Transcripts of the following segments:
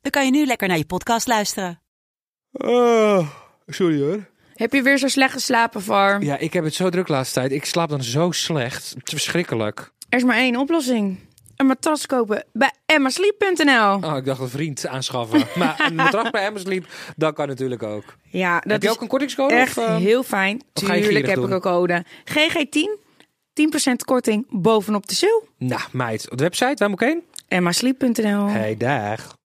dan kan je nu lekker naar je podcast luisteren. Ah, sorry hoor. Heb je weer zo slecht geslapen, Var? Ja, ik heb het zo druk de laatste tijd. Ik slaap dan zo slecht. Het is verschrikkelijk. Er is maar één oplossing. Een matras kopen bij emmasleep.nl. Oh, ik dacht een vriend aanschaffen. Maar een matras bij Amazon dat kan natuurlijk ook. Ja, dat heb je is ook een kortingscode? echt of, eh, heel fijn. of ga je Tuurlijk gierig heb ik doen? een code. GG10, 10% korting bovenop de sale. Nou, meid. Op de website, waar moet ik heen? emmasleep.nl. Hey, dag.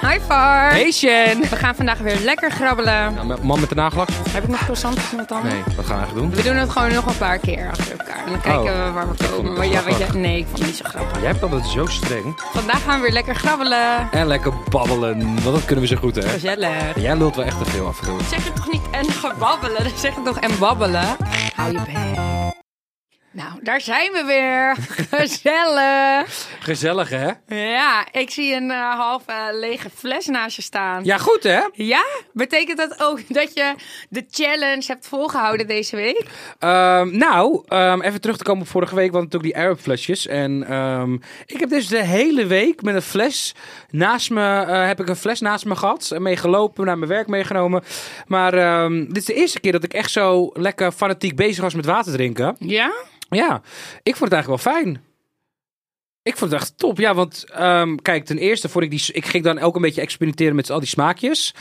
Hi, Var. Hey, Shen. We gaan vandaag weer lekker grabbelen. Nou, mijn man met de nagelak? Heb ik nog croissantjes met tanden? Nee, wat gaan we eigenlijk doen? We doen het gewoon nog een paar keer achter elkaar. En dan kijken Oh. we waar we komen. het Maar ja, grappig. weet je, nee, ik vond het niet zo grappig. Jij bent altijd zo streng. Vandaag gaan we weer lekker grabbelen. En lekker babbelen, want dat kunnen we zo goed, hè? Gezellig. Jij lult wel echt te veel af en toe. Zeg het toch niet en gebabbelen? Dan zeg het toch en babbelen? Hou je bek. Nou, daar zijn we weer. Gezellig. Gezellig, hè? Ja, ik zie een eh, half eh, lege fles naast je staan. Ja, goed, hè? Ja? Betekent dat ook dat je de challenge hebt volgehouden deze week? Ehm, nou, ehm, even terug te komen op vorige week, want natuurlijk die Arab flesjes. En ehm, ik heb dus de hele week met een fles naast me, eh, heb ik een fles naast me gehad. en Mee gelopen, naar mijn werk meegenomen. Maar ehm, dit is de eerste keer dat ik echt zo lekker fanatiek bezig was met water drinken. Ja? Ja, ik vond het eigenlijk wel fijn. Ik vond het echt top. Ja, want ehm, kijk, ten eerste vond ik die. Ik ging dan ook een beetje experimenteren met al die smaakjes.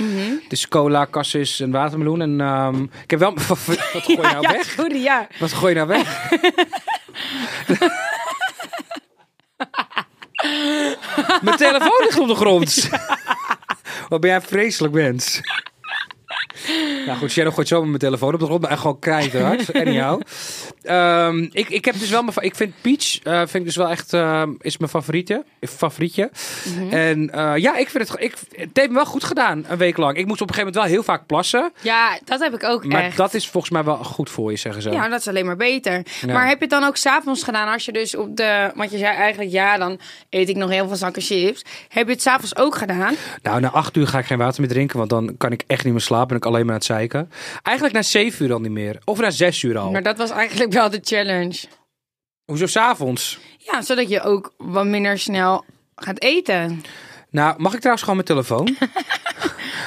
Dus cola, cassis en watermeloen. En ehm, ik heb wel. Wat gooi je nou ja, weg? sorry, ja. Wat gooi je nou weg? Mijn telefoon ligt op de grond. Wat ben jij een vreselijk mens. Nou goed, Shadow gooit zomaar mijn telefoon op de grond, maar echt gewoon keihard. Anyhow. Ehm ik, ik heb dus wel mijn... fa- Ik vind Peach, eh, vind ik dus wel echt, ehm, is mijn favoriete. eh, favorietje. Mhm. En eh, ja, ik vind het... Ik, het heeft me wel goed gedaan, een week lang. Ik moest op een gegeven moment wel heel vaak plassen. Ja, dat heb ik ook Maar echt. dat is volgens mij wel goed voor je, zeggen ze. Ja, dat is alleen maar beter. Ja. Maar heb je het dan ook s'avonds gedaan als je dus op de... Want je zei eigenlijk, ja, dan eet ik nog heel veel zakken chips. Heb je het s'avonds ook gedaan? Nou, na acht uur ga ik geen water meer drinken, want dan kan ik echt niet meer slapen. Ben ik alleen maar aan het zeiken. Eigenlijk na zeven uur al niet meer. Of na zes uur al. Maar dat was eigenlijk wel de challenge. Hoezo s'avonds? Ja, zodat je ook wat minder snel gaat eten. Nou, mag ik trouwens gewoon mijn telefoon?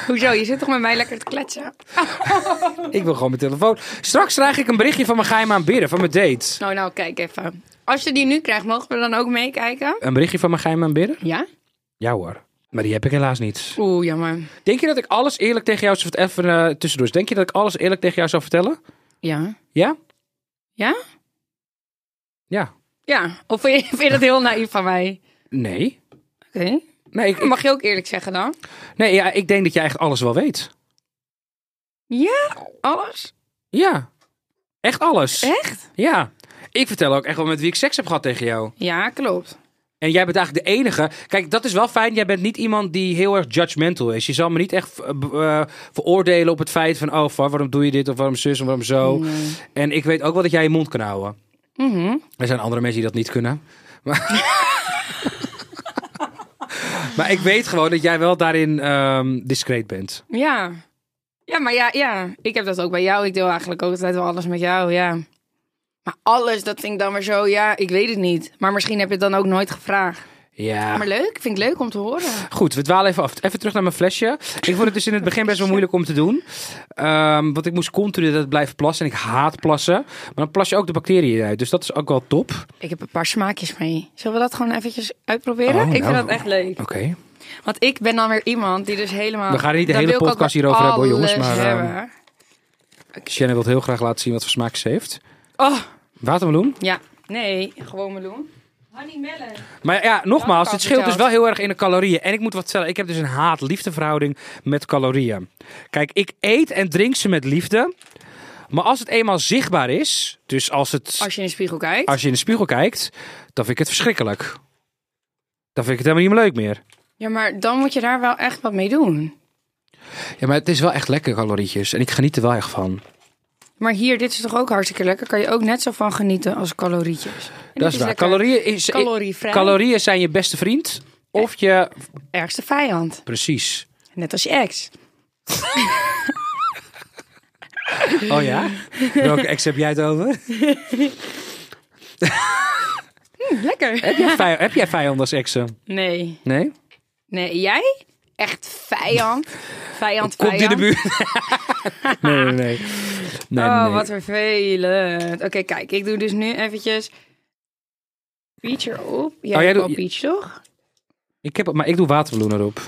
Hoezo? Je zit toch met mij lekker te kletsen? ik wil gewoon mijn telefoon. Straks krijg ik een berichtje van mijn geheime aanbidder, van mijn date. Nou, nou, kijk even. Als je die nu krijgt, mogen we dan ook meekijken? Een berichtje van mijn geheime aanbidder? Ja? Ja hoor. Maar die heb ik helaas niet. Oeh, jammer. Denk je dat ik alles eerlijk tegen jou zou vertellen? Even eh, tussendoor. Denk je dat ik alles eerlijk tegen jou zou vertellen? Ja? Ja? Ja? Ja. Ja. Of vind je, vind je dat heel naïef van mij? Nee. Oké. Nee, ik, ik- Mag je ook eerlijk zeggen dan? nee ja, ik denk dat jij echt alles wel weet. Ja? Alles? Ja. Echt alles. Echt? Ja. Ik vertel ook echt wel met wie ik seks heb gehad tegen jou. Ja, klopt. En jij bent eigenlijk de enige. Kijk, dat is wel fijn. Jij bent niet iemand die heel erg judgmental is. Je zal me niet echt eh, be- eh, veroordelen op het feit van... oh, Far, waarom doe je dit? Of waarom zus? Of waarom zo? En ik weet ook wel dat jij je mond kan houden. Mhm. Er zijn andere mensen die dat niet kunnen. Maar, maar ik weet gewoon dat jij wel daarin ehm, discreet bent. Ja. Ja, maar ja, ja, ik heb dat ook bij jou. Ik deel eigenlijk ook altijd wel alles met jou, ja. Maar alles, dat vind ik dan weer zo, ja, ik weet het niet. Maar misschien heb je het dan ook nooit gevraagd. Ja. Maar leuk, vind ik leuk om te horen. Goed, we dwalen even af. Even terug naar mijn flesje. Ik vond het dus in het begin best wel moeilijk om te doen. Ehm, want ik moest continu dat blijven plassen. En ik haat plassen. Maar dan plas je ook de bacteriën uit. Dus dat is ook wel top. Oké. Ik heb een paar smaakjes mee. Zullen we dat gewoon eventjes uitproberen? Oh, ik nou. vind dat echt leuk. Want ik ben dan weer iemand die dus helemaal... We gaan er niet de dan hele wil ik ook podcast weer hierover hebben, hoor, jongens, alles maar, ehm, hebben. Shannon wil heel graag laten zien wat voor smaak ze heeft. Oh, Watermeloen. ja. Nee, gewoon meloen. Honey melon. Maar ja, Ja, nogmaals, dat het verteld. scheelt dus wel heel erg in de calorieën. En ik moet wat vertellen. Ik heb dus een haat-liefdeverhouding met calorieën. Kijk, ik eet en drink ze met liefde. Maar als het eenmaal zichtbaar is, dus als het Als je in de spiegel kijkt. als je in de spiegel kijkt, dan vind ik het verschrikkelijk. Dan vind ik het helemaal niet meer leuk meer. Ja, maar dan moet je daar wel echt wat mee doen. Ja, maar het is wel echt lekker calorietjes. En ik geniet er wel echt van. Maar hier, dit is toch ook hartstikke lekker? Kan je ook net zo van genieten als calorietjes. En dit dat is waar. lekker Calorieën, is, calorievrij. calorieën zijn je beste vriend. Of je... Ergste vijand. Precies. Net als je ex. Oh ja? Welke ex heb jij het over? Lekker. Hm, Heb jij, vij- heb jij vijand als exen? Eh, Nee. Nee? Nee, jij? Echt vijand. Vijand, vijand. Komt in de buurt? nee, nee, nee. Nee, oh, nee. wat vervelend. Oké, kijk, ik doe dus nu eventjes peach erop. Jij, Oh, jij hebt doet- wel peach, toch? Ik heb, maar ik doe waterbloem erop.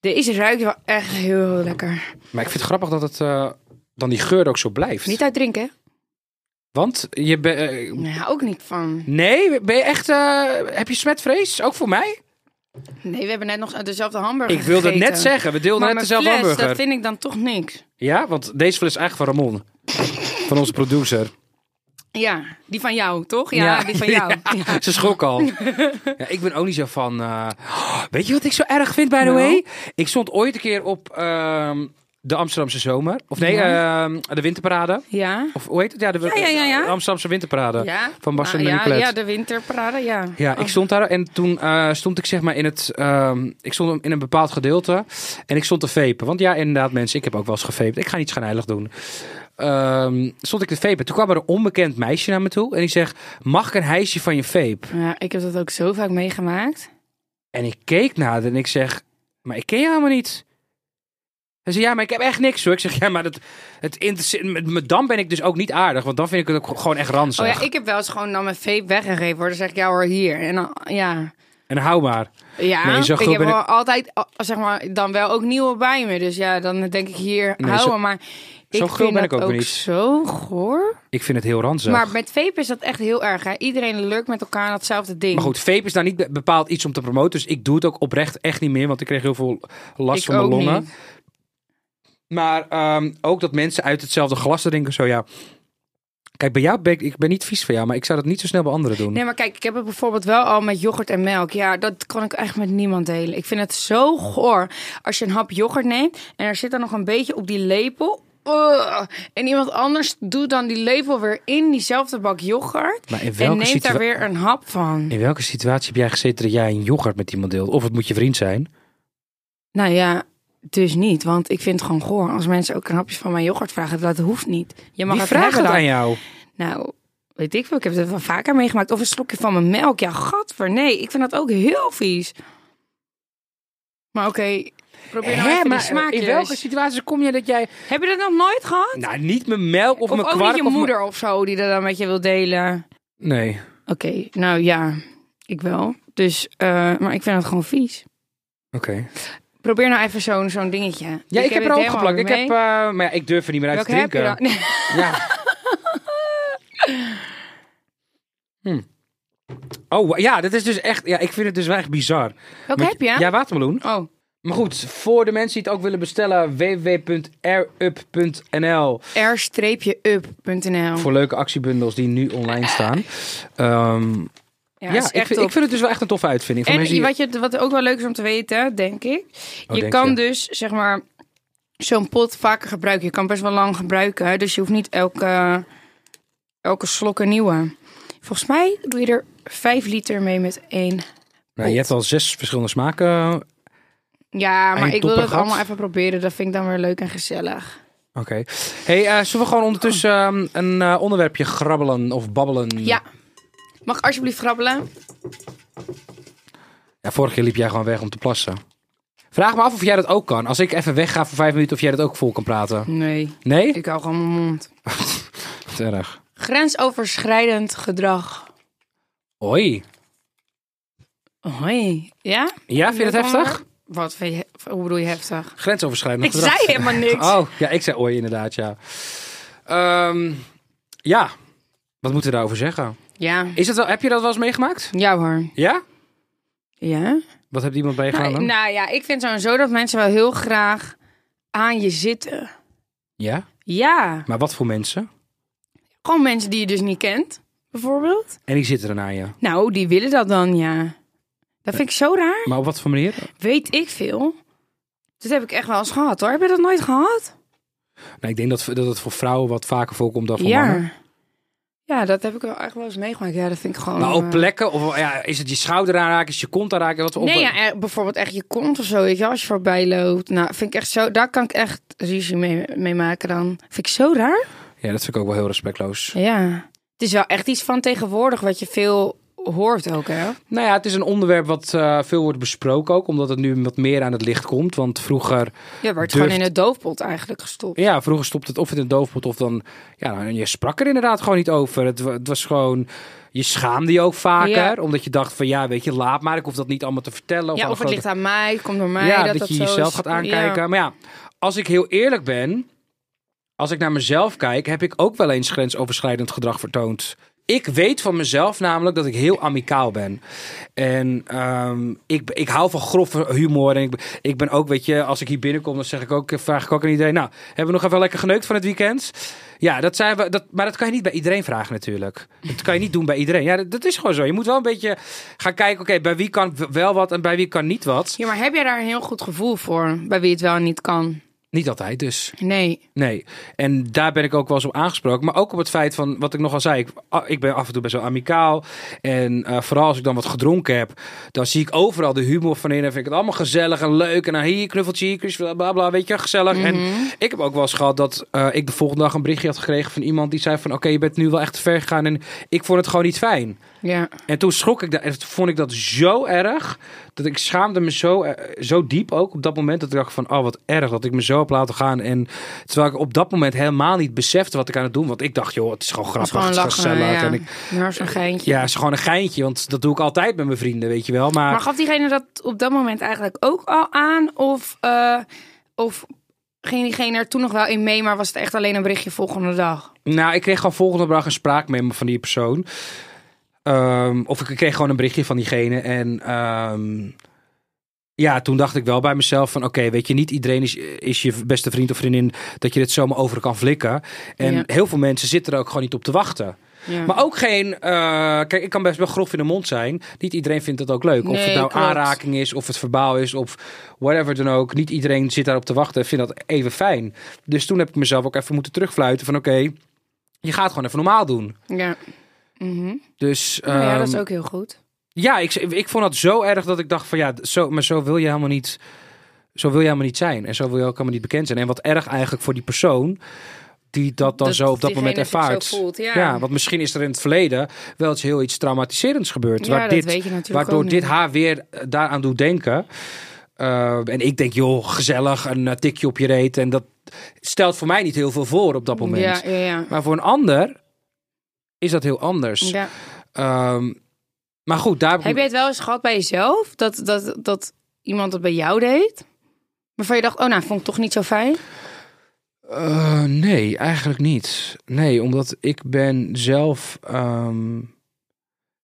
Deze ruikt wel echt heel lekker. Maar ik vind het grappig dat het eh, dan die geur ook zo blijft. Niet uitdrinken, hè? Want je bent... eh, Nee, ook niet van. nee, ben je echt... eh, heb je smetvrees? Ook voor mij? Nee, we hebben net nog dezelfde hamburger Ik wilde het gegeten. net zeggen. We deelden Maar net mijn dezelfde fles, hamburger. dat vind ik dan toch niks. Ja, want deze fles is eigenlijk van Ramon. Van onze producer. Ja, die van jou, toch? Ja, die van jou. Ja. Ze schrok al. Ja, ik ben ook niet zo van... eh, Weet je wat ik zo erg vind, by the Nou? way? Ik stond ooit een keer op ehm, de Amsterdamse zomer. Of nee, ehm, de winterparade. Ja. Of hoe heet het? Ja, de ja, ja, ja. de Amsterdamse winterparade. Ja. Van Bas en Ah, ja, Marie Klet. ja, de winterparade, ja. Oh. Ja, ik stond daar en toen eh, stond ik zeg maar in het, ehm, ik stond in een bepaald gedeelte en ik stond te vapen. Want ja, inderdaad mensen, ik heb ook wel eens gevapen. Ik ga niets schijnheilig doen. Ehm, stond ik te vapen. Toen kwam er een onbekend meisje naar me toe en die zegt, mag ik een hijsje van je vape? Ja, ik heb dat ook zo vaak meegemaakt. En ik keek naar haar en ik zeg, maar ik ken je helemaal niet. Hij zei, ja, maar ik heb echt niks hoor. Ik zeg, ja, maar dat, het interesseert me- me- Dan ben ik dus ook niet aardig, want dan vind ik het ook gewoon echt ranzig. Oh ja, ik heb wel eens gewoon dan mijn vape weggegeven. Hoor. Dan zeg ik, ja hoor, hier. En dan, ja. En hou maar. Ja, Nee, zo ik groot heb ben ik- wel altijd, al- zeg maar, dan wel ook nieuwe bij me. Dus ja, dan denk ik hier Nee, houden. zo- maar ik zo groot vind ben ik dat ook weer niet. zo goor. Ik vind het heel ranzig. Maar met vape is dat echt heel erg. Hè? Iedereen lurkt met elkaar aan datzelfde ding. Maar goed, vape is daar niet be- bepaald iets om te promoten. Dus ik doe het ook oprecht echt niet meer. Want ik kreeg heel veel last ik van mijn ook longen. niet. Maar ehm, ook dat mensen uit hetzelfde glas drinken. Zo ja. Kijk, bij jou ben ik, ik ben niet vies van jou. Maar ik zou dat niet zo snel bij anderen doen. Nee, maar kijk, ik heb het bijvoorbeeld wel al met yoghurt en melk. Ja, dat kan ik echt met niemand delen. Ik vind het zo goor als je een hap yoghurt neemt en er zit dan nog een beetje op die lepel. Ugh. en iemand anders doet dan die lepel weer in diezelfde bak yoghurt. Maar in welke en neemt situa- daar weer een hap van. In welke situatie heb jij gezeten dat jij een yoghurt met iemand deelt? Of het moet je vriend zijn? Nou ja, dus niet. Want ik vind het gewoon goor als mensen ook een hapje van mijn yoghurt vragen. Dat hoeft niet. Je mag Wie het vraagt hebben het dan. aan jou? Nou, weet ik veel. Ik heb het wel vaker meegemaakt. Of een slokje van mijn melk. Ja, gadver. Nee, ik vind dat ook heel vies. Maar oké, probeer nou Hè, even maar die smaakjes. in welke situatie kom je dat jij... Heb je dat nog nooit gehad? Nou, niet mijn melk of, of mijn ook kwark niet je of mijn- moeder of zo die dat dan met je wil delen? Nee. Oké, nou ja, ik wel. Dus, eh, maar ik vind het gewoon vies. Oké. Probeer nou even zo'n zo'n dingetje. Ja, ik, heb er het ook helemaal geplakt. Ik mee. heb, eh, maar ja, ik durf er niet meer uit Welke te heb je drinken. dan? Nee. Ja. Hm. Oh, ja, dat is dus echt... Ja, ik vind het dus wel echt bizar. Welke Want- heb je? Ja, watermeloen. Oh, Maar goed, voor de mensen die het ook willen bestellen... www.airup.nl r-up.nl. Voor leuke actiebundels die nu online staan. Ehm, ja, is ik, echt vind, top. ik vind het dus wel echt een toffe uitvinding. Voor mensen En die- wat, je, wat ook wel leuk is om te weten, denk ik. Oh, je denk kan je. dus, zeg maar, zo'n pot vaker gebruiken. Je kan best wel lang gebruiken. Dus je hoeft niet elke, elke slok een nieuwe. Volgens mij doe je er 5 liter mee met één. nou, je hebt al zes verschillende smaken. Oké. Ja, maar Eén ik wil topper dat gehad. allemaal even proberen. Dat vind ik dan weer leuk en gezellig. Hey, eh, zullen we gewoon ondertussen ehm, een eh, onderwerpje grabbelen of babbelen? Ja. Mag ik alsjeblieft grabbelen? Ja, vorige keer liep jij gewoon weg om te plassen. Vraag me af of jij dat ook kan. Als ik even wegga voor vijf minuten, of jij dat ook vol kan praten. Nee, Nee? ik hou gewoon mijn mond. Wat erg. Grensoverschrijdend gedrag. Hoi. Hoi. Ja? Ja, vind je dat heftig? Wat vind je, hoe bedoel je heftig? Grensoverschrijdend Ik gedrag. zei helemaal niks. Oh, ja, ik zei ooi inderdaad, ja. Ehm, ja, wat moeten we daarover zeggen? Ja. Is dat wel, heb je dat wel eens meegemaakt? Ja hoor. Ja? Ja? Wat heeft iemand meegemaakt Nou, dan? nou ja, ik vind sowieso dat mensen wel heel graag aan je zitten. Ja? Ja. Maar wat voor mensen? Gewoon mensen die je dus niet kent, bijvoorbeeld. En die zitten er aan je. Nou, die willen dat dan, ja. Dat Dat vind ik zo raar. Maar op wat voor manier? Weet ik veel. Dit heb ik echt wel eens gehad hoor. Heb je dat nooit gehad? Nou, ik denk dat, dat het voor vrouwen wat vaker voorkomt dan voor mannen. ja. Ja, dat heb ik wel echt wel eens meegemaakt. Ja, dat vind ik gewoon... Maar Nou, ook eh, plekken? Of ja, is het je schouder aanraken? Is het je kont aanraken? Wat voor Nee, op- ja, eh, bijvoorbeeld echt je kont of zo, weet je, wel, als je voorbij loopt. Nou, vind ik echt zo, daar kan ik echt ruzie mee, mee maken dan. Vind ik zo raar. ja, dat vind ik ook wel heel respectloos. Ja. Het is wel echt iets van tegenwoordig wat je veel hoort ook, hè? Nou ja, het is een onderwerp wat eh, veel wordt besproken ook. Omdat het nu wat meer aan het licht komt. Want vroeger, Ja, wordt Durft- gewoon in het doofpot eigenlijk gestopt. Dus- ja, vroeger stopte het of in een doofpot of dan... Ja, nou, je sprak er inderdaad gewoon niet over. Het, wa- het was gewoon... Je schaamde je ook vaker. Ja. Omdat je dacht van ja, weet je, laat maar. Ik hoef dat niet allemaal te vertellen. aan Ja, of een het grote- ligt aan mij, het komt door mij. ja, dat, dat, dat je zo jezelf is. gaat aankijken. Ja. Maar ja, als ik heel eerlijk ben, als ik naar mezelf kijk, heb ik ook wel eens grensoverschrijdend gedrag vertoond. Ik weet van mezelf namelijk dat ik heel amicaal ben. En ehm, ik, ik hou van grof humor. En ik, ben- ik ben ook, weet je, als ik hier binnenkom, dan zeg ik ook, vraag ik ook aan iedereen. Nou, hebben we nog even lekker geneukt van het weekend? Ja, dat zijn we. Dat, maar dat kan je niet bij iedereen vragen, natuurlijk. Dat kan je niet doen bij iedereen. Ja, dat, dat is gewoon zo. Je moet wel een beetje gaan kijken, oké, bij wie kan wel wat en bij wie kan niet wat. Ja, maar heb jij daar een heel goed gevoel voor, bij wie het wel en niet kan? Niet altijd dus. Nee. Nee. En daar ben ik ook wel eens op aangesproken. Maar ook op het feit van wat ik nogal zei. Ik, ah, ik ben af en toe best wel amicaal. En eh, vooral als ik dan wat gedronken heb. Dan zie ik overal de humor van in. En vind ik het allemaal gezellig en leuk. En dan hier knuffeltje, hier kus- bla bla bla. Weet je, gezellig. En ik heb ook wel eens gehad dat eh, ik de volgende dag een berichtje had gekregen van iemand die zei van... Oké, je bent nu wel echt te ver gegaan. En ik vond het gewoon niet fijn. Ja. En toen schrok ik daar. En toen vond ik dat zo erg. Dat ik schaamde me zo, eh, zo diep ook op dat moment. Dat ik dacht van, oh wat erg dat ik me zo heb laten gaan. En terwijl ik op dat moment helemaal niet besefte wat ik aan het doen. Want ik dacht, joh, het is gewoon Dat is grappig. gewoon het is lachen. gezellig. Ja, En ik, Maar zo'n geintje. ja, het is gewoon een geintje. Want dat doe ik altijd met mijn vrienden, weet je wel. Maar, Maar gaf diegene dat op dat moment eigenlijk ook al aan? Of, eh, of ging diegene er toen nog wel in mee, maar was het echt alleen een berichtje volgende dag? nou, ik kreeg gewoon volgende dag een spraakmemo van die persoon. Ehm, of ik kreeg gewoon een berichtje van diegene. En ehm, ja, toen dacht ik wel bij mezelf van... oké, weet je, niet iedereen is, is je beste vriend of vriendin... dat je dit zomaar over kan flikken. En Ja. heel veel mensen zitten er ook gewoon niet op te wachten. Ja. Maar ook geen... eh, kijk, ik kan best wel grof in de mond zijn. Niet iedereen vindt dat ook leuk. of Nee, het nou klopt. aanraking is, of het verbaal is... of whatever dan ook. Niet iedereen zit daarop te wachten en vindt dat even fijn. Dus toen heb ik mezelf ook even moeten terugfluiten van... oké, je gaat gewoon even normaal doen. ja. Mhm. Dus, Nou ja, dat is ehm, ook heel goed. ja, ik, ik vond dat zo erg dat ik dacht van ja, zo, maar zo wil je helemaal niet. Zo wil je helemaal niet zijn. En zo wil je ook helemaal niet bekend zijn. En wat erg eigenlijk voor die persoon die dat dan Dat zo op dat diegene moment zich zo ervaart. voelt, ja. want misschien is er in het verleden wel iets heel iets traumatiserends gebeurd. Ja, waar dat dit, weet je natuurlijk waardoor ook dit niet. haar weer eh, daaraan doet denken. Eh, en ik denk, joh, gezellig, een eh, tikje op je reet. En dat stelt voor mij niet heel veel voor op dat moment. Ja, ja, ja. Maar voor een ander is dat heel anders. ja. Ehm, maar goed, daar ik- Heb jij het wel eens gehad bij jezelf? Dat, dat, dat iemand het bij jou deed? Waarvan je dacht, oh nou, vond ik toch niet zo fijn? Eh, nee, eigenlijk niet. Nee, omdat ik ben zelf. ehm,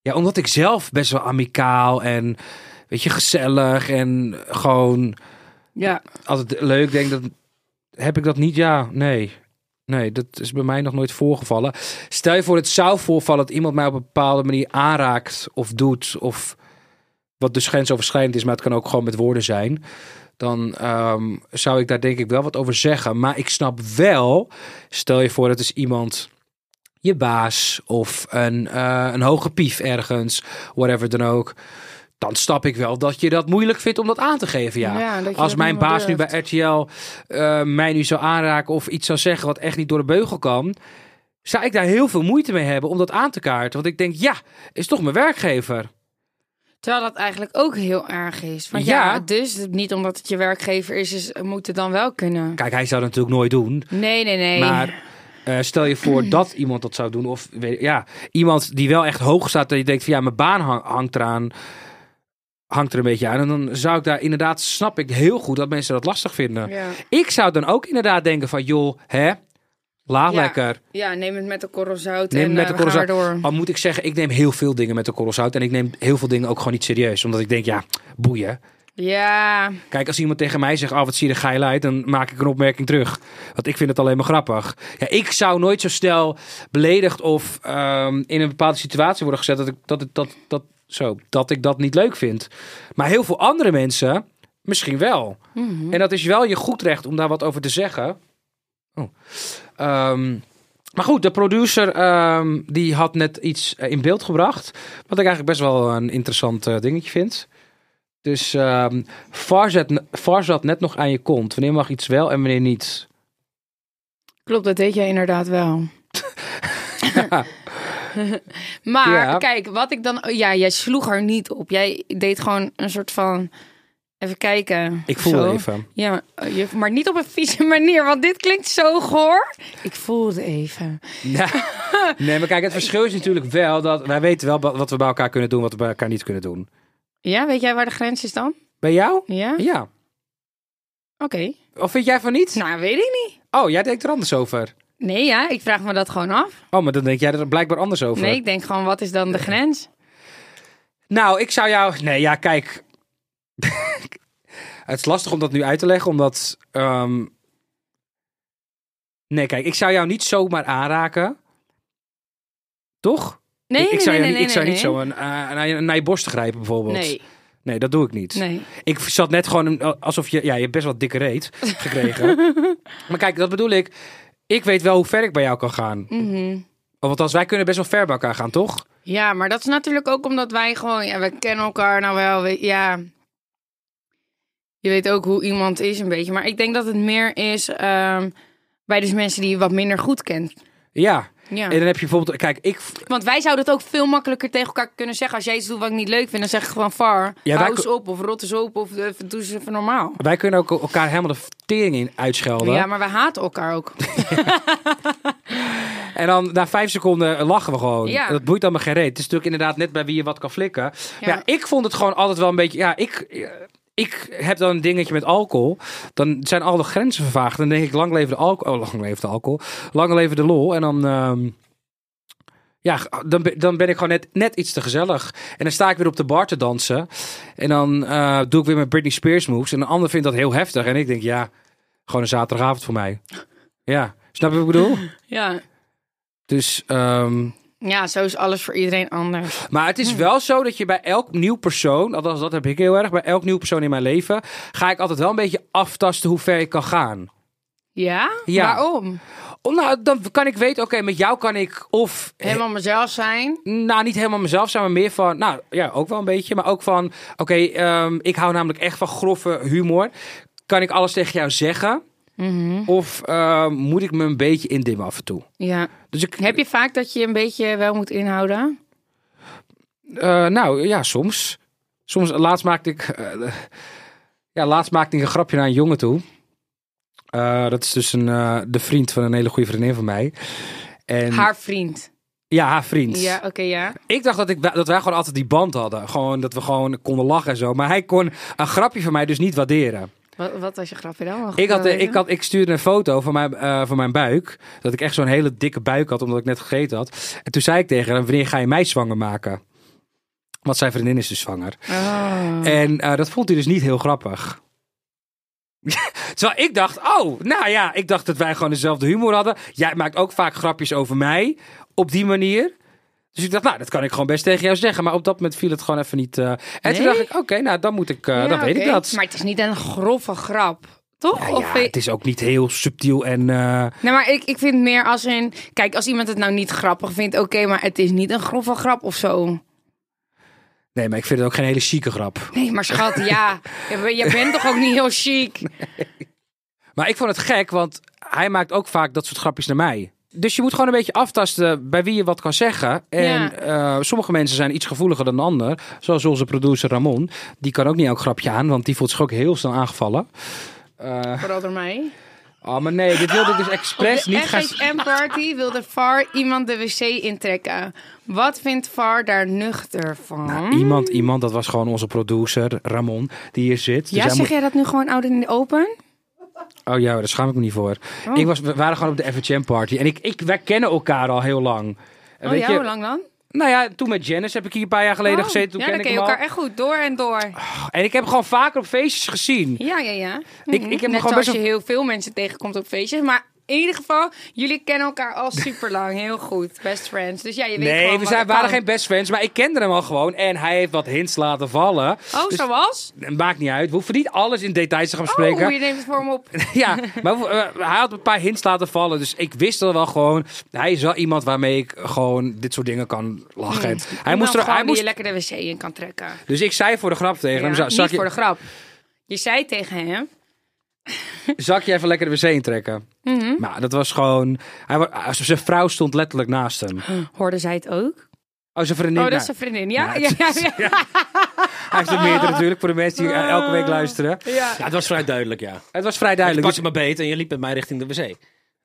ja, omdat ik zelf best wel amicaal en. Weet je, gezellig en gewoon Ja. altijd leuk denk. Dat, heb ik dat niet? Ja, nee. Nee, dat is bij mij nog nooit voorgevallen. Stel je voor, het zou voorvallen dat iemand mij op een bepaalde manier aanraakt of doet. Of wat dus grensoverschrijdend is, maar het kan ook gewoon met woorden zijn. Dan ehm, zou ik daar denk ik wel wat over zeggen. Maar ik snap wel, stel je voor, het is iemand, je baas of een, eh, een hoge pief ergens, whatever dan ook. Dan snap ik wel dat je dat moeilijk vindt om dat aan te geven. Ja, Ja, dat je als dat mijn niet meer baas nu durft. bij RTL eh, mij nu zou aanraken of iets zou zeggen wat echt niet door de beugel kan, zou ik daar heel veel moeite mee hebben om dat aan te kaarten. Want ik denk, ja, is toch mijn werkgever. Terwijl dat eigenlijk ook heel erg is. Want ja, Ja. dus niet omdat het je werkgever is, is moet het dan wel kunnen. Kijk, hij zou dat natuurlijk nooit doen. Nee, nee, nee. Maar eh, stel je voor dat iemand dat zou doen. Of weet, ja, iemand die wel echt hoog staat. Dat je denkt van ja, mijn baan hang- hangt eraan. Hangt er een beetje aan. En dan zou ik daar inderdaad, snap ik heel goed dat mensen dat lastig vinden. Ja. Ik zou dan ook inderdaad denken van joh, hè, laat Ja. lekker. Ja, neem het met de korrel zout Neem en met eh, de we korrel gaan zout. weer door. Al moet ik zeggen, ik neem heel veel dingen met de korrel zout. En ik neem heel veel dingen ook gewoon niet serieus. Omdat ik denk, ja, boeien. Ja, Kijk, als iemand tegen mij zegt, oh, wat zie je er geil uit, dan maak ik een opmerking terug. Want ik vind het alleen maar grappig. Ja, ik zou nooit zo snel beledigd of ehm, in een bepaalde situatie worden gezet dat, ik, dat, het- dat, dat, zo, dat ik dat niet leuk vind. Maar heel veel andere mensen misschien wel. En dat is wel je goed recht om daar wat over te zeggen. Oh. Ehm, maar goed, de producer ehm, die had net iets eh, in beeld gebracht. Wat ik eigenlijk best wel een interessant eh, dingetje vind. Dus ehm Farzad, Farzad net nog aan je kont. Wanneer mag iets wel en wanneer niet? Klopt, dat deed jij inderdaad wel. maar Ja. kijk, wat ik dan... Ja, jij sloeg er niet op. Jij deed gewoon een soort van... Even kijken. Ik voel Zo. even. Ja, maar, eh, juf, maar niet op een vieze manier, want dit klinkt zo goor. Ik voelde even. Ja. Nee, maar kijk, het verschil is natuurlijk wel dat wij weten wel ba- wat we bij elkaar kunnen doen, wat we bij elkaar niet kunnen doen. Ja, weet jij waar de grens is dan? Bij jou? Ja? Oké. Ja. Of vind jij van niet? Nou, weet ik niet. Oh, jij denkt er anders over. Nee, ja, ik vraag me dat gewoon af. Oh, maar dan denk jij er blijkbaar anders over. Nee, ik denk gewoon, wat is dan de grens? Nou, ik zou jou. Nee, ja, kijk. het is lastig om dat nu uit te leggen, omdat. ehm, Nee, kijk, ik zou jou niet zomaar aanraken. Toch? Nee, ik, ik nee, zou jou niet, nee, nee, ik zou nee, niet nee. zo een, eh, naar, je, naar je borst grijpen, bijvoorbeeld. Nee, Nee, dat doe ik niet. nee. Ik zat net gewoon een- alsof je. Ja, je hebt best wel dikke reet gekregen. maar kijk, dat bedoel ik. Ik weet wel hoe ver ik bij jou kan gaan. Mhm. Want als wij kunnen best wel ver bij elkaar gaan, toch? Ja, maar dat is natuurlijk ook omdat wij gewoon... Ja, we kennen elkaar nou wel, we- ja... Je weet ook hoe iemand is een beetje. Maar ik denk dat het meer is ehm, bij dus mensen die je wat minder goed kent. Ja. Ja. En dan heb je bijvoorbeeld. Kijk, ik. Want wij zouden het ook veel makkelijker tegen elkaar kunnen zeggen. Als jij iets doet wat ik niet leuk vind, dan zeg ik gewoon far. Ja, hou wij- eens op, of rot eens op, of eh, doe eens even normaal. Wij kunnen ook elkaar helemaal de tering in uitschelden. Ja, maar wij haten elkaar ook. En dan na vijf seconden lachen we gewoon. Ja. Dat boeit allemaal geen reet. Het is natuurlijk inderdaad net bij wie je wat kan flikken. Maar ja, ik vond het gewoon altijd wel een beetje... Ja, ik, ik heb dan een dingetje met alcohol. Dan zijn alle grenzen vervaagd. Dan denk ik, lang leven de alcohol. Oh, lang leven de alcohol. Lang leven de lol. En dan... ehm, ja, dan, ben- dan ben ik gewoon net, net iets te gezellig. En dan sta ik weer op de bar te dansen. En dan eh, doe ik weer mijn Britney Spears moves. En een ander vindt dat heel heftig. En ik denk, ja, gewoon een zaterdagavond voor mij. Ja, snap je wat ik bedoel? Ja. Dus, ehm, ja, zo is alles voor iedereen anders. maar het is wel zo dat je bij elk nieuw persoon, althans dat heb ik heel erg, bij elk nieuw persoon in mijn leven, ga ik altijd wel een beetje aftasten hoe ver ik kan gaan. Ja? Ja. Waarom? Oh, nou, dan kan ik weten, oké, met jou kan ik of, Helemaal mezelf zijn. nou niet helemaal mezelf zijn, maar meer van, nou ja, ook wel een beetje, maar ook van, oké, ehm, ik hou namelijk echt van grove humor. Kan ik alles tegen jou zeggen? Of ehm, moet ik me een beetje indimmen af en toe? Ja. Dus ik, Heb je vaak dat je een beetje wel moet inhouden? Eh, nou ja, soms. Soms laatst maakte ik. eh, ja, laatst maakte ik een grapje naar een jongen toe. Eh, dat is dus een, eh, de vriend van een hele goede vriendin van mij. En, Haar vriend. Ja, haar vriend. Ja, oké, ja. Ik dacht dat, ik, dat wij gewoon altijd die band hadden. Gewoon dat we gewoon konden lachen en zo. Maar hij kon een grapje van mij dus niet waarderen. Wat, wat was je grapje dan? Mag Ik, had, wel eh, ik, weten? had, ik stuurde een foto van mijn, eh, van mijn buik. Dat ik echt zo'n hele dikke buik had, omdat ik net gegeten had. En toen zei ik tegen hem, wanneer ga je mij zwanger maken? Want zijn vriendin is dus zwanger. Oh. En eh, dat vond hij dus niet heel grappig. Terwijl ik dacht, oh, nou ja, ik dacht dat wij gewoon dezelfde humor hadden. Jij maakt ook vaak grapjes over mij op die manier. Dus ik dacht, nou, dat kan ik gewoon best tegen jou zeggen. Maar op dat moment viel het gewoon even niet. eh. En toen Nee? dacht ik, oké, nou, dan moet ik, eh, Ja, dan weet ik oké. dat. Maar het is niet een grove grap, toch? Ja, Of ja, vind- het is ook niet heel subtiel en... eh, Nee, maar ik, ik vind meer als in... Kijk, als iemand het nou niet grappig vindt, oké, maar het is niet een grove grap of zo. nee, maar ik vind het ook geen hele chique grap. Nee, maar schat, ja. Je, ben- je bent toch ook niet heel chic? Maar ik vond het gek, want hij maakt ook vaak dat soort grapjes naar mij. Dus je moet gewoon een beetje aftasten bij wie je wat kan zeggen. En Ja. eh, sommige mensen zijn iets gevoeliger dan de ander. Zoals onze producer Ramon. Die kan ook niet elk grapje aan, want die voelt zich ook heel snel aangevallen. Eh, Vooral door mij. oh, maar nee, dit wilde ik dus Op expres de niet gaan... FHM-party wilde VAR iemand de wc intrekken. Wat vindt VAR daar nuchter van? Iemand, Hmm. iemand, dat was gewoon onze producer Ramon, die hier zit. Dus ja, hij zeg moet- jij dat nu gewoon oud in de open? Oh ja, daar schaam ik me niet voor. Oh. Ik was, we waren gewoon op de FHM party. En ik, ik, wij kennen elkaar al heel lang. En Oh weet ja, je, hoe lang dan? Nou ja, toen met Janice heb ik hier een paar jaar geleden Oh, gezeten. Toen ja, ken dan ik ken je hem al. elkaar echt goed, door en door. En ik heb hem gewoon vaker op feestjes gezien. Ja, ja, ja. Ik, ik heb hem Net gewoon zoals best je wel... heel veel mensen tegenkomt op feestjes. Maar in ieder geval, jullie kennen elkaar al super lang. Heel goed. Best friends. Dus ja, je weet Nee, gewoon we wat zijn, er waren kan. geen best friends, maar ik kende hem al gewoon. En hij heeft wat hints laten vallen. Oh, Dus- zoals? Maakt niet uit. We hoeven niet alles in details te gaan Oh, bespreken. je neemt het voor hem op. Ja, maar we- eh, hij had een paar hints laten vallen. Dus ik wist al wel gewoon. Hij is wel iemand waarmee ik gewoon dit soort dingen kan lachen. Hij En moest dan er, hij gewoon die moest, je Hmm. Nou, lekker de wc in kan trekken. dus ik zei voor de grap tegen Ja, hem: "Zou- niet zak, voor de je, grap. Je zei tegen hem. zak je even lekker de wc intrekken? Mhm. Maar dat was gewoon. Hij, wa- zijn vrouw stond letterlijk naast hem. Hoorde zij het ook? Oh, zijn vriendin. Oh, dat nou, is zijn vriendin. Ja, Ja, ja, het ja. is- Hij heeft er meerdere natuurlijk voor de mensen die eh, elke week luisteren. ja. Ah, Ja, het was vrij duidelijk, ja. Het was vrij Je duidelijk. pakte Dus- me beet en je liep met mij richting de wc.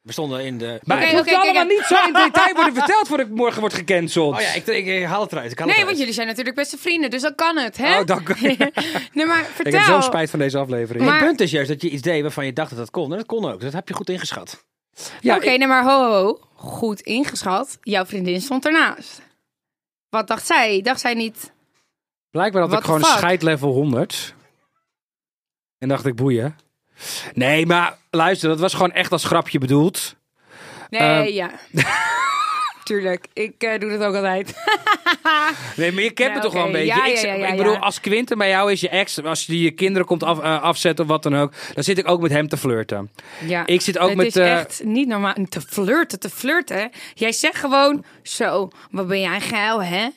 We stonden in de... maar Oké, het moet oké, allemaal kijk, kijk. niet zo in detail worden verteld voordat ik morgen wordt gecanceld. Oh ja, ik, ik, ik haal het eruit. Ik Nee, haal het want eruit. jullie zijn natuurlijk beste vrienden, dus dan kan het, hè? Oh, dank u. nee, maar Ik vertel. heb zo'n spijt van deze aflevering. Maar- Het punt is juist dat je iets deed waarvan je dacht dat dat kon. En dat kon ook. Dus dat heb je goed ingeschat. Ja, Oké, nee, maar ho, ho, ho. Goed ingeschat. Jouw vriendin stond ernaast. Wat dacht zij? Dacht zij niet... Blijkbaar had What ik the gewoon fuck? scheidlevel 100. En dacht ik, boeien. Nee, maar luister, dat was gewoon echt als grapje bedoeld. Nee, Ehm. ja. Tuurlijk, ik eh, doe dat ook altijd. Nee, maar je kent me Nee, toch wel een oké. beetje. Ja, ik, ja, ja, ja, ik bedoel, ja. als Quinten bij jou is je ex, als die je kinderen komt af, eh, afzetten of wat dan ook, dan zit ik ook met hem te flirten. Ja. Ik zit ook het met, is eh, echt niet normaal. Te flirten, te flirten. hè? Jij zegt gewoon zo, wat ben jij geil, hè?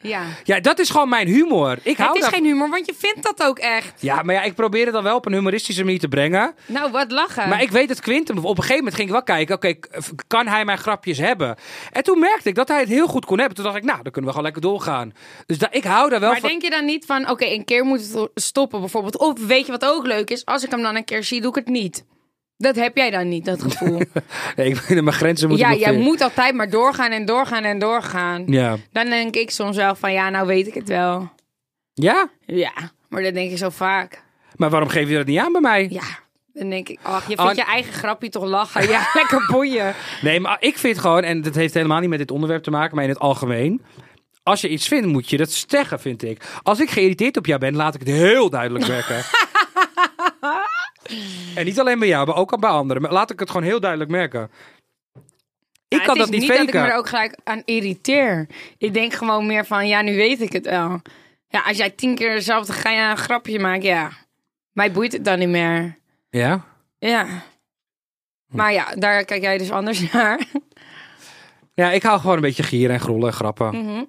Ja. Ja, dat is gewoon mijn humor. Ik hou Het is daar- geen humor, want je vindt dat ook echt. Ja, maar ja, ik probeer het dan wel op een humoristische manier te brengen. Nou, wat lachen. Maar ik weet dat Quinten, op een gegeven moment ging ik wel kijken, oké, k- f- kan hij mijn grapjes hebben? En toen merkte ik dat hij het heel goed kon hebben. Toen dacht ik, nou, dan kunnen we gewoon lekker doorgaan. Dus da- ik hou daar wel Maar van. denk je dan niet van, oké, een keer moet het stoppen bijvoorbeeld. Of weet je wat ook leuk is? Als ik hem dan een keer zie, doe ik het niet. Dat heb jij dan niet, dat gevoel. Nee, ik ben mijn grenzen moeten ja, nog jij vinden. moet altijd maar doorgaan en doorgaan en doorgaan. Ja. Dan denk ik soms wel van, ja, nou weet ik het wel. Ja? Ja, maar dat denk ik zo vaak. Maar waarom geef je dat niet aan bij mij? Ja, dan denk ik, ach, je Oh, vindt en- je eigen grapje toch lachen. Ja, lekker boeien. Nee, maar ik vind gewoon, en dat heeft helemaal niet met dit onderwerp te maken, maar in het algemeen. Als je iets vindt, moet je dat zeggen, vind ik. Als ik geïrriteerd op jou ben, laat ik het heel duidelijk merken. en niet alleen bij jou, maar ook al bij anderen. Maar laat ik het gewoon heel duidelijk merken. Ik Ja, kan het dat niet is niet faken. dat ik me er ook gelijk aan irriteer. Ik denk gewoon meer van, ja, nu weet ik het wel. Ja, als jij tien keer dezelfde gein aan een grapje maakt, ja. Mij boeit het dan niet meer. Ja? Ja. Hm. Maar ja, daar kijk jij dus anders naar. Ja, ik hou gewoon een beetje gier en grollen en grappen. Mooi. Mhm.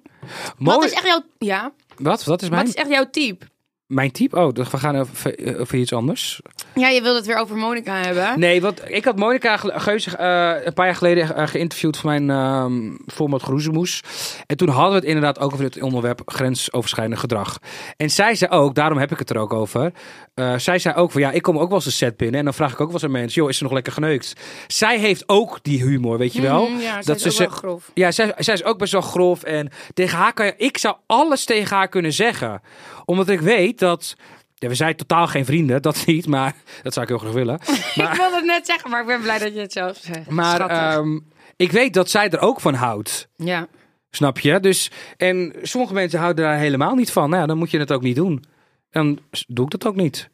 Wat is echt jouw, ja, Wat? Wat is mijn, wat is echt jouw type? mijn type? Oh, we gaan over, eh, over iets anders. Ja, je wilde het weer over Monica hebben. Nee, want ik had Monica Gel- Geuze eh, een paar jaar geleden eh, geïnterviewd voor mijn ehm format Groezemoes. En toen hadden we het inderdaad ook over het onderwerp grensoverschrijdend gedrag. En zij zei ook, daarom heb ik het er ook over. eh, zij zei ook van ja, ik kom ook wel eens een set binnen. En dan vraag ik ook wel eens aan mensen, joh, is ze nog lekker geneukt? Zij heeft ook die humor, weet je wel. Mhm, ja, ze is ook ze- wel grof. Ja, zij, zij is ook best wel grof. En tegen haar kan je, ik zou alles tegen haar kunnen zeggen. Omdat ik weet dat. Ja, we zijn totaal geen vrienden, dat niet, maar dat zou ik heel graag willen. Maar, Ik wilde het net zeggen, maar ik ben blij dat je het zelf zegt. maar Schattig. ehm, ik weet dat zij er ook van houdt. ja. Snap je? Dus, en sommige mensen houden daar helemaal niet van. Nou, ja, dan moet je het ook niet doen. Dan s- doe ik dat ook niet.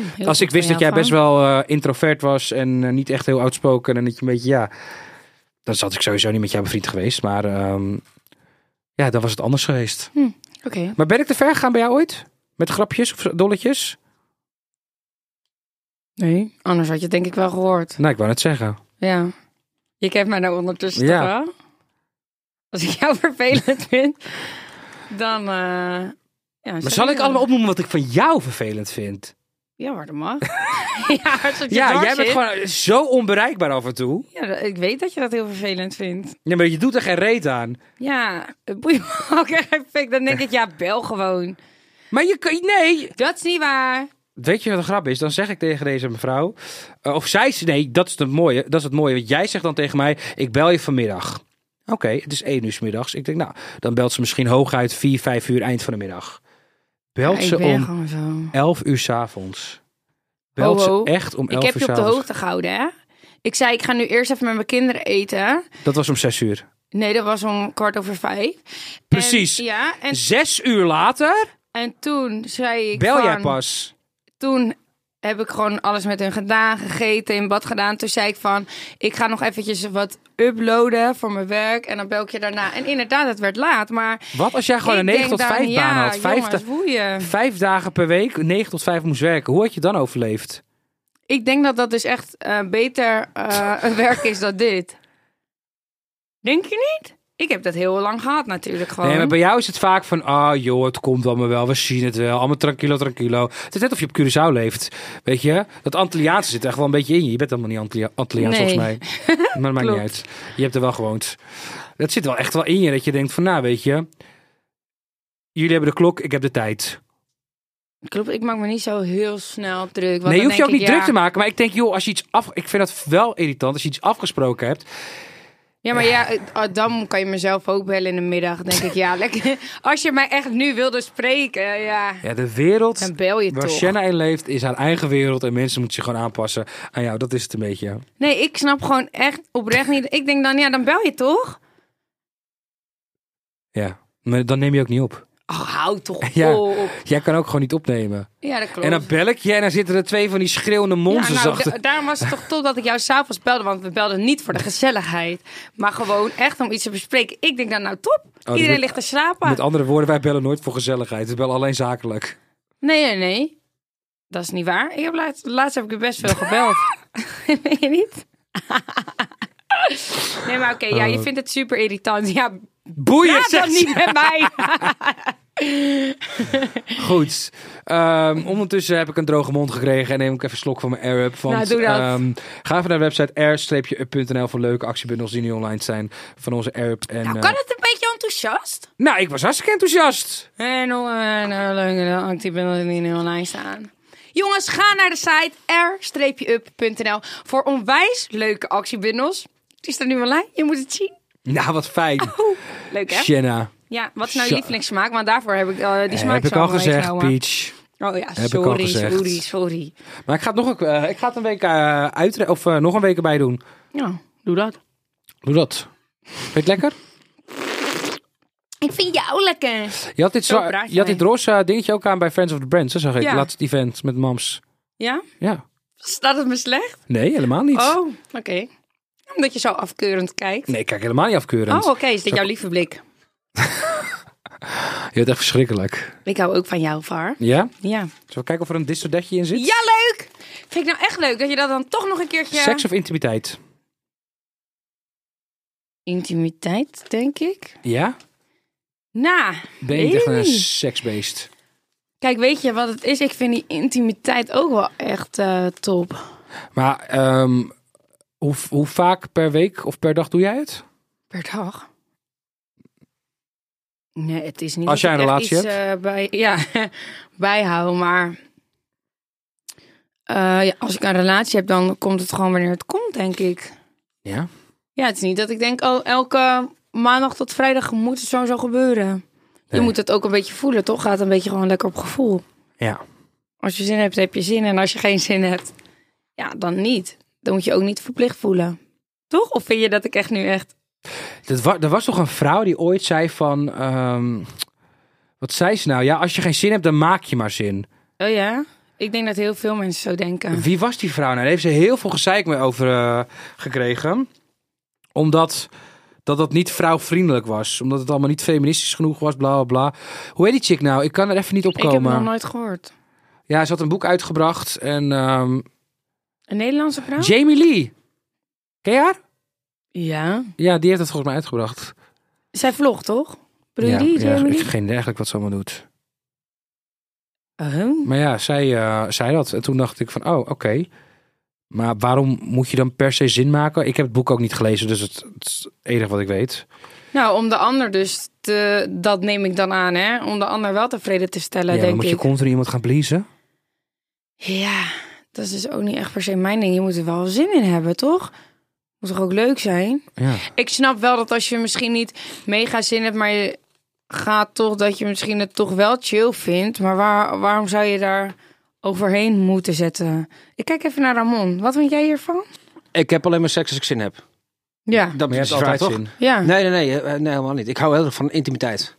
Heel Als ik goed wist van dat jij jou, best Frank. wel eh, introvert was en eh, niet echt heel uitspoken en dat je een beetje, ja. Dan zat ik sowieso niet met jou bevriend geweest, maar ehm, ja, dan was het anders geweest. Oké. Maar ben ik te ver gegaan bij jou ooit? Met grapjes of dolletjes? Nee. Anders had je het denk ik wel gehoord. Nou, ik wou het zeggen. Ja. Je kent mij nou ondertussen Ja. toch wel? Als ik jou vervelend vind, dan... eh ja, Maar zal ik allemaal opnoemen wat ik van jou vervelend vind? Ja, maar dat mag. ja, als het je Ja, dwars jij bent zit. gewoon eh, zo onbereikbaar af en toe. Ja, dat- ik weet dat je dat heel vervelend vindt. Ja, maar je doet er geen reet aan. Ja, het boeit me ook echt fik. Dan denk ik, ja, bel gewoon. Maar je kan... Nee! Dat is niet waar. Weet je wat de grap is? Dan zeg ik tegen deze mevrouw... eh, of zij... Nee, dat is het mooie. Dat is het mooie. Want jij zegt dan tegen mij... Ik bel je vanmiddag. Oké, het is één uur 's middags. Ik denk, nou... Dan belt ze misschien hooguit vier, vijf uur eind van de middag. Belt Ja, ze ik ben om gewoon zo. elf uur s'avonds. Belt Ho, ho. ze echt om Oh, Ik elf heb uur je op de s'avonds. hoogte gehouden, hè? Ik zei, ik ga nu eerst even met mijn kinderen eten. Dat was om zes uur. Nee, dat was om kwart over vijf. En- Precies. ja, en Zes uur later En toen zei ik bel jij van- pas. Toen heb ik gewoon alles met hun gedaan, gegeten, in bad gedaan. Toen zei ik van, ik ga nog eventjes wat uploaden voor mijn werk en dan bel ik je daarna. En inderdaad, het werd laat, maar... Wat als jij gewoon ik een 9 denk tot dan, 5 ja, baan had? Vijf, jongens, da- woeien. vijf dagen per week, 9 tot 5 moest werken. Hoe had je dan overleefd? Ik denk dat dat dus echt eh, beter eh, een werk is dan dit. Denk je niet? Ik heb dat heel lang gehad natuurlijk gewoon. Nee, maar bij jou is het vaak van, ah joh, het komt allemaal wel, we zien het wel, allemaal tranquilo, tranquilo. Het is net of je op Curaçao leeft, weet je. Dat Antilliaanse zit echt wel een beetje in je. Je bent helemaal niet Antilia- Antilliaans Nee. volgens mij, maar dat maakt niet Klopt. uit. Je hebt er wel gewoond. Dat zit wel echt wel in je, dat je denkt van, nou weet je, jullie hebben de klok, ik heb de tijd. Klopt, ik maak me niet zo heel snel druk. nee, want je dan hoeft je denk ook niet ik, druk ja, te maken, maar ik denk, joh, als je iets af... Ik vind dat wel irritant, als je iets afgesproken hebt. Ja, maar ja, eh, ah, dan kan je mezelf ook bellen in de middag. denk ik, ja, lekker. Als je mij echt nu wilde spreken, ja, Ja, de wereld... dan bel je Waar toch. Shanna in leeft, is haar eigen wereld en mensen moeten zich gewoon aanpassen aan jou. Dat is het een beetje. ja. Nee, ik snap gewoon echt oprecht niet. Ik denk dan, ja, dan bel je toch? Ja, maar dan neem je ook niet op. Oh, hou toch Ja. op. Jij kan ook gewoon niet opnemen. Ja, dat klopt. En dan bel ik je en dan zitten er twee van die schreeuwende Ja, monsters nou, achter. da- daarom was het toch top dat ik jou s'avonds belde. Want we belden niet voor de gezelligheid. Maar gewoon echt om iets te bespreken. Ik denk dan nou top. dus Iedereen met- ligt te slapen. Met andere woorden, wij bellen nooit voor gezelligheid. We bellen alleen zakelijk. Nee, nee, nee. Dat is niet waar. Ik heb laatst, laatst heb ik u best veel gebeld. Weet je niet? nee, maar oké. ja, je vindt het super irritant. Ja, Boeien, praat dan zegt ze. niet met mij. Goed. Ehm, ondertussen heb ik een droge mond gekregen en neem ik even een slok van mijn Air-up. Want, Nou, doe dat. ehm, ga even naar de website air-up.nl voor leuke actiebundels die nu online zijn van onze Air-up. En, nou, eh, kan het een beetje enthousiast? nou, ik was hartstikke enthousiast. En nog een eh, leuke actie ben er niet in online staan. Jongens, ga naar de site r-up.nl voor onwijs leuke actiebundels. Het is er nu online, je moet het zien. Nou, wat fijn. Leuk hè? Shanna. Ja, wat is nou Zo. je lievelingssmaak? Want daarvoor heb ik eh, die smaak heb ik zo al mooi gezegd, genomen. Peach. Oh ja, ik al sorry, gezegd. sorry, sorry. Maar ik ga het nog een, eh, ik ga het een week eh uit, of eh, nog een week erbij doen. Ja, doe dat. Doe dat. Vind je het lekker? Ik vind jou lekker. Je had dit, Zo zwa- praat je je had dit mee. roze dingetje ook aan bij Friends of the Brands, hè, zag ik. Ja. Laatst event met Mams. Ja? Ja. Staat het me slecht? Nee, helemaal niet. Oh, oké. Omdat je zo afkeurend kijkt. Nee, ik kijk helemaal niet Oh, afkeurend. oké, is dit jouw lieve blik? Je bent echt verschrikkelijk. Ik hou ook van jou, Var. Ja? Ja. Zullen we kijken of er een distordetje in zit? Ja, leuk! Vind ik nou echt leuk dat je dat dan toch nog een keertje... Seks of intimiteit? Intimiteit, denk ik. Ja? Nou, Ben je niet echt een Nee. seksbeest? kijk, weet je wat het is? Ik vind die intimiteit ook wel echt eh, top. Maar ehm, hoe, hoe vaak per week of per dag doe jij het? Per dag. Nee, het is niet... Als dat jij een ik echt relatie iets, eh, bij, ja, bijhouden, maar... eh, ja, als ik een relatie heb, dan komt het gewoon wanneer het komt, denk ik. Ja. Ja, het is niet dat ik denk, oh, elke maandag tot vrijdag moet het sowieso gebeuren. Nee. Je moet het ook een beetje voelen, toch? Gaat een beetje gewoon lekker op gevoel. Ja. Als je zin hebt, heb je zin. En als je geen zin hebt, ja, dan niet. Dan moet je ook niet verplicht voelen. Toch? Of vind je dat ik echt nu echt... Dat wa- er was toch een vrouw die ooit zei van... ehm, wat zei ze nou? Ja, als je geen zin hebt, dan maak je maar zin. Oh ja? Ik denk dat heel veel mensen zo denken. Wie was die vrouw nou? Daar heeft ze heel veel gezeik mee over eh, gekregen. Omdat dat, dat niet vrouwvriendelijk was. Omdat het allemaal niet feministisch genoeg was, bla bla bla. Hoe heet die chick nou? Ik kan er even niet op Ik heb het nog komen. nooit gehoord. Ja, ze had een boek uitgebracht. En ehm, Een Nederlandse vrouw? Jamie Lee. Ken je haar? ja. Ja, die heeft het volgens mij uitgebracht. Zij vlogt, toch? Bedoel je ja, die, ja, Jamie? ik heb geen idee eigenlijk wat ze allemaal doet. Oh. Maar ja, zij eh, zei dat. En toen dacht ik van, oh, oké. Maar waarom moet je dan per se zin maken? Ik heb het boek ook niet gelezen, dus het, het is het enige wat ik weet. Nou, om de ander dus te... Dat neem ik dan aan, hè? Om de ander wel tevreden te stellen, ja, dan denk moet je ik. continu iemand gaan bliezen. Ja, dat is dus ook niet echt per se mijn ding. Je moet er wel zin in hebben, toch? Moet toch ook leuk zijn? Ja. Ik snap wel dat als je misschien niet mega zin hebt, maar je gaat toch dat je misschien het toch wel chill vindt. Maar waar, waarom zou je daar overheen moeten zetten? Ik kijk even naar Ramon. Wat vind jij hiervan? Ik heb alleen maar seks als ik zin heb. Ja, Dat Maar je is hebt de vraag, altijd toch? zin. ja. Nee, nee, nee, eh, nee, helemaal niet. Ik hou heel erg van intimiteit.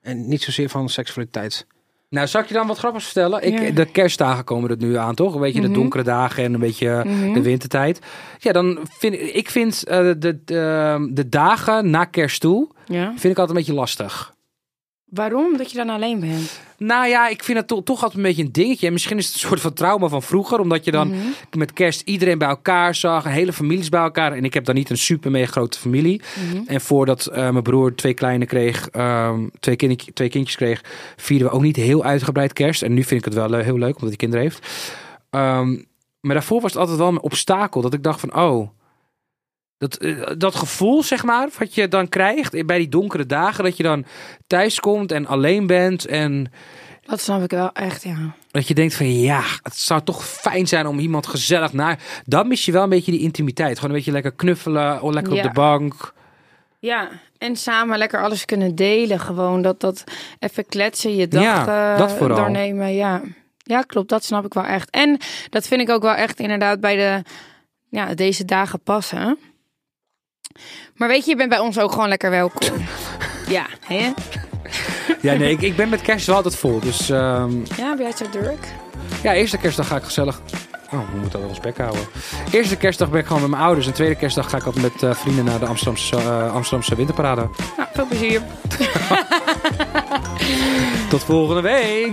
En niet zozeer van seksualiteit. Nou, zal ik je dan wat grappigs vertellen? Ik, Ja. Mhm. De kerstdagen komen er nu aan, toch? Een beetje de donkere dagen en een beetje eh, de wintertijd. Ja, dan vind ik vind eh, de, de, de dagen na kerst toe, Ja. vind ik altijd een beetje lastig. Waarom? Dat je dan alleen bent. Nou ja, ik vind het to- toch altijd een beetje een dingetje. En misschien is het een soort van trauma van vroeger. Omdat je dan met kerst iedereen bij elkaar zag. Hele families bij elkaar. En ik heb dan niet een super mega grote familie. En voordat eh, mijn broer twee kleine kreeg, ehm, twee, kind, twee kindjes kreeg, vierden we ook niet heel uitgebreid kerst. En nu vind ik het wel eh, heel leuk, omdat hij kinderen heeft. Ehm, maar daarvoor was het altijd wel een obstakel. Dat ik dacht van, oh... Dat, eh, dat gevoel, zeg maar, wat je dan krijgt bij die donkere dagen. Dat je dan thuis komt en alleen bent. En Dat snap ik wel echt, ja. dat je denkt van ja, het zou toch fijn zijn om iemand gezellig naar. Dan mis je wel een beetje die intimiteit. Gewoon een beetje lekker knuffelen, oh, lekker Ja. op de bank. Ja, en samen lekker alles kunnen delen. Gewoon dat, dat even kletsen, je Ja, dag eh, dat vooral. doornemen. Ja. ja, klopt. Dat snap ik wel echt. En dat vind ik ook wel echt inderdaad bij de, ja, deze dagen passen. Maar weet je, je bent bij ons ook gewoon lekker welkom. ja, hè? Ja, nee, ik, ik ben met kerst wel altijd vol. Dus ehm, Ja, ben jij zo druk? ja, eerste kerstdag ga ik gezellig. Oh, we moeten wel ons bek houden. Eerste kerstdag ben ik gewoon met mijn ouders. En tweede kerstdag ga ik altijd met eh, vrienden naar de Amsterdamse, eh, Amsterdamse Winterparade. Nou, veel plezier. Tot volgende week.